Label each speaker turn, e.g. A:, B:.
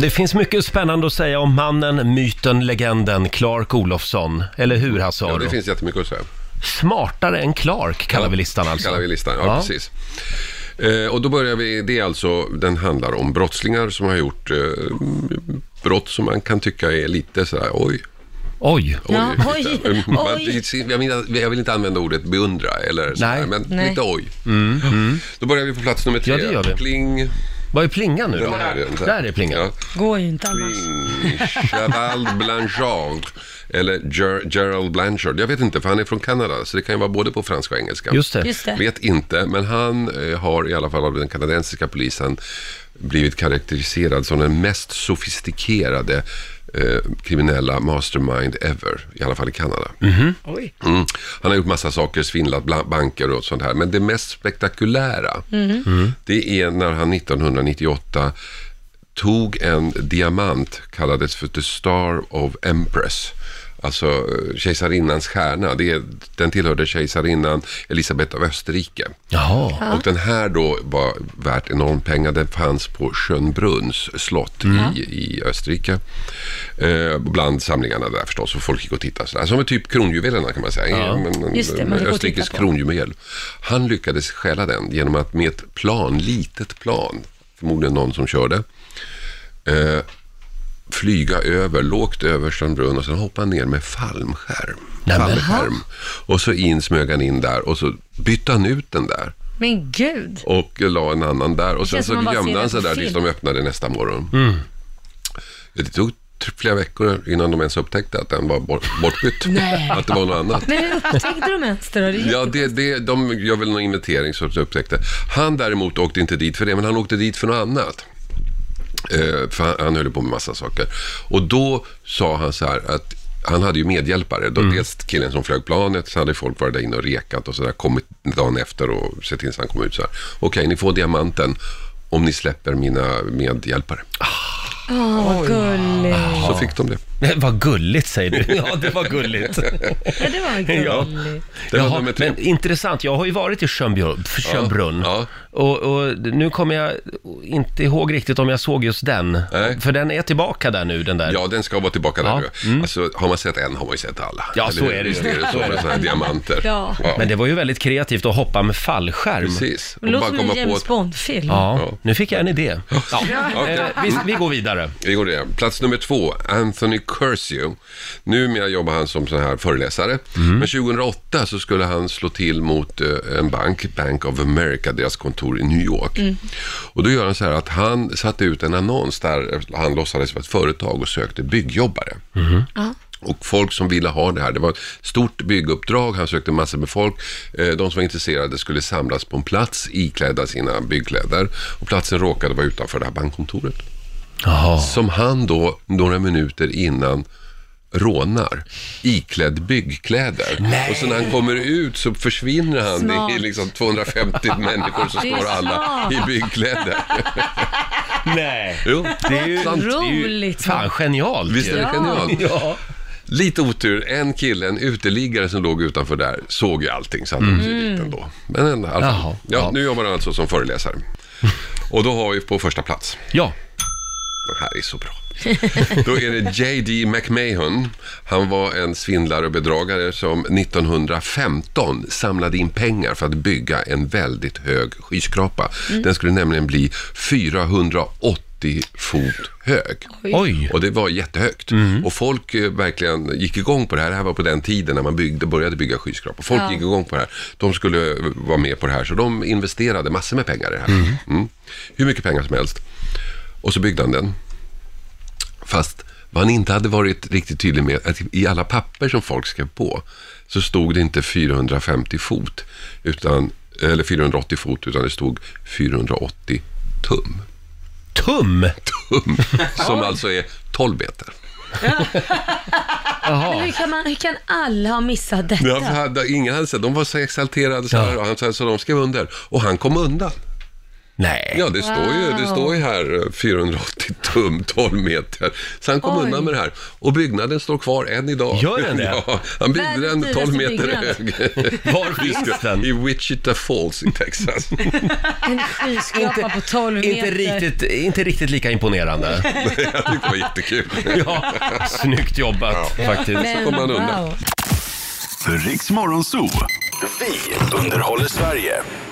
A: Det finns mycket spännande att säga om mannen, myten, legenden Clark Olofsson. Eller hur Hasse
B: Ja,
A: Aro?
B: det finns jättemycket att säga.
A: Smartare än Clark kallar vi listan alltså.
B: Kallar vi listan, ja,
A: Ja.
B: precis. Eh, och då börjar vi, det är alltså, den handlar om brottslingar som har gjort eh, brott som man kan tycka är lite sådär, oj,
A: Oj,
B: oj.
C: Ja, oj,
B: lite, eh, man-
C: oj.
B: Jag, menar, jag vill inte använda ordet beundra eller sådär,
A: Nej. Mm,
B: men
C: Nej.
B: lite oj. Då börjar vi på plats nummer tre.
A: Ja, det gör vi.
B: Pling.
A: vad är plingan nu då?
B: Den här är den.
A: Där är plingan.
B: Ja.
C: Går ju inte annars.
B: Mm. Cheval Blanchard. Eller Ger- Gerald Blanchard. Jag vet inte, för han är från Kanada, så det kan ju vara både på franska och engelska.
A: Just det.
C: Just det.
B: Vet inte, men han eh, har i alla fall av den kanadensiska polisen blivit karaktäriserad som den mest sofistikerade eh, kriminella mastermind ever, i alla fall i Kanada.
A: Oj.
B: Mm. Han har gjort massa saker, svindlat bla- banker och sånt här. Men det mest spektakulära, det är när han 1998 tog en diamant, kallades för The Star of Empress. Alltså eh, kejsarinnans stjärna. Det är, den tillhörde kejsarinnan Elisabeth av Österrike.
A: Jaha.
B: Och den här då var värt enormt pengar. Den fanns på Schönbrunns slott
C: Mm.
B: i, i Österrike. Eh, bland samlingarna där förstås. Och folk gick och tittade. Sådär. Som är typ kronjuvelerna kan man säga. Men,
C: Just det, man gick och
B: Österrikes
C: tittade på.
B: kronjuvel. Han lyckades stjäla den genom att med ett plan, litet plan, förmodligen någon som körde, eh, flyga över, lågt över Strömbrunn och sen hoppa ner med fallskärm.
A: Nej, men-
B: fallskärm. Och så in smög han in där och så bytte han ut den där
C: Men gud.
B: och la en annan där. Och sen
C: känns som
B: så
C: man bara ser
B: gömde han
C: det
B: sig
C: på
B: där
C: film.
B: tills de öppnade nästa morgon. Det tog t- flera veckor innan de ens upptäckte att den var bort, bortbytt.
C: Nej.
B: Att det var något annat.
C: Men hur upptäckte de ens det då? Det är
B: Ja,
C: jätte-
B: det, det, de gör väl någon inventering så att de upptäckte. Han däremot åkte inte dit för det, men han åkte dit för något annat. Eh, för han, han höll på med massa saker. Och då sa han så här att han hade ju medhjälpare. Då,
A: Mm.
B: Dels killen som flög planet, så hade folk varit där inne och rekat och sådär. Kommit dagen efter och sett till så han kom ut så här. Okej, ni får diamanten om ni släpper mina medhjälpare.
C: Åh, vad gulligt.
B: Så fick de det.
A: Nej, Vad gulligt säger du. Ja, det var gulligt.
C: Ja, det var gulligt.
B: Det var
A: Jaha,
B: nummer tre.
A: men intressant, jag har ju varit i Schönbjör- Schönbrunn.
B: Ja,
A: Och, och nu kommer jag inte ihåg riktigt om jag såg just den.
B: Nej.
A: För den är tillbaka där nu, den där.
B: Ja, den ska vara tillbaka där
A: Ja, Mm.
B: nu. Alltså, har man sett en har man ju sett alla.
A: Ja,
B: Eller
A: så
B: hur?
A: är det ju.
B: Visst är det så med sådana här diamanter.
C: Ja.
A: Men det var ju väldigt kreativt att hoppa med fallskärm.
B: Precis.
C: Det låter
B: bara
C: som
B: komma
C: en
B: på
C: James
B: ett-
C: Bond-film.
A: Ja,
B: Ja.
A: nu fick jag en idé. Ja.
B: Okej.
A: Eh, vi, vi går vidare.
B: Vi går det. Plats nummer två, Anthony Curcio. Numera jobbar han som sån här föreläsare.
C: Mhm.
B: Men 2008 så skulle han slå till mot eh, en bank, Bank of America, deras kontor i New York.
C: Mm.
B: Och då gör han så här att han satte ut en annons där han låtsades vara ett företag och sökte byggjobbare.
C: Mm.
B: Och folk som ville ha det här, det var ett stort bygguppdrag, han sökte massor med folk. Eh, De som var intresserade skulle samlas på en plats, iklädda sina byggkläder. Och platsen råkade vara utanför det här bankkontoret
A: Jaha.
B: som han då några minuter innan rånar iklädd byggkläder. Och så när han kommer ut så försvinner han.
C: Smart.
B: Det är liksom 250 människor som
C: Det är
B: står alla
C: smart.
B: i byggkläder.
A: Nej.
B: Jo,
A: Det är ju
B: sant.
C: Roligt.
A: fan genialt
B: Visst är
A: ju.
B: det
C: Ja.
B: genialt?
A: Ja.
B: Lite otur, en kille, en uteliggare som låg utanför där, såg ju allting så han åkte ju dit ändå. Men ändå, alltså,
A: Jaha,
B: ja,
A: ja.
B: nu jobbar han alltså som föreläsare. Och då har vi på första plats
A: ja.
B: Den här är så bra. Då är det J.D. McMahon. Han var en svindlare och bedragare som 1915 samlade in pengar för att bygga en väldigt hög skyskrapa. Den skulle nämligen bli 480 fot hög.
A: Oj.
B: Och det var jättehögt. Och folk eh, verkligen gick igång på det här. Det här var på den tiden när man byggde, började bygga skyskrapor. Folk gick igång på det här. De skulle eh, vara med på det här. Så de investerade massor med pengar i det här. Mm. Hur mycket pengar som helst. Och så byggde han den. Fast vad han inte hade varit riktigt tydlig med, att i alla papper som folk skrev på, så stod det inte 450 fot, utan, eller 480 fot, utan det stod 480 tum.
A: Tum.
B: Tum, som alltså är 12 meter.
C: Men hur kan, man, hur kan alla ha missat detta?
B: Ja, för hade, ingen hade sett, de var så exalterade så, här,
A: Ja.
B: och han, så, här, så de skrev under. Och han kom undan.
A: Nej.
B: Ja, det står, ju, det står ju här eh, 480 tum, 12 meter. Så han kom
C: Oj.
B: undan med det här. Och byggnaden står kvar än idag.
A: Gör den det?
B: Ja, han byggde
C: Världens
B: den 12
C: dyraste
B: meter hög.
C: byggnad.
A: Var finns den?
B: I Wichita Falls i Texas.
C: En skyskrapa på 12 meter.
A: Inte riktigt, inte riktigt lika imponerande.
B: Jag tyckte det var jättekul.
A: Ja, snyggt jobbat faktiskt.
C: Men,
B: kommer man undan.
C: wow.
D: Riks Morgonzoo. Vi underhåller Sverige.